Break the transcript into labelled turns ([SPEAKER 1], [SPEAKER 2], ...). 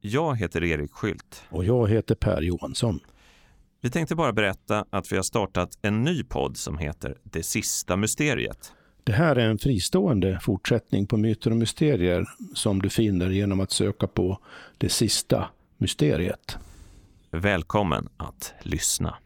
[SPEAKER 1] Jag heter Erik Skylt.
[SPEAKER 2] Och jag heter Per Johansson.
[SPEAKER 1] Vi tänkte bara berätta att vi har startat en ny podd som heter Det sista mysteriet.
[SPEAKER 2] Det här är en fristående fortsättning på myter och mysterier som du finner genom att söka på Det sista mysteriet.
[SPEAKER 1] Välkommen att lyssna.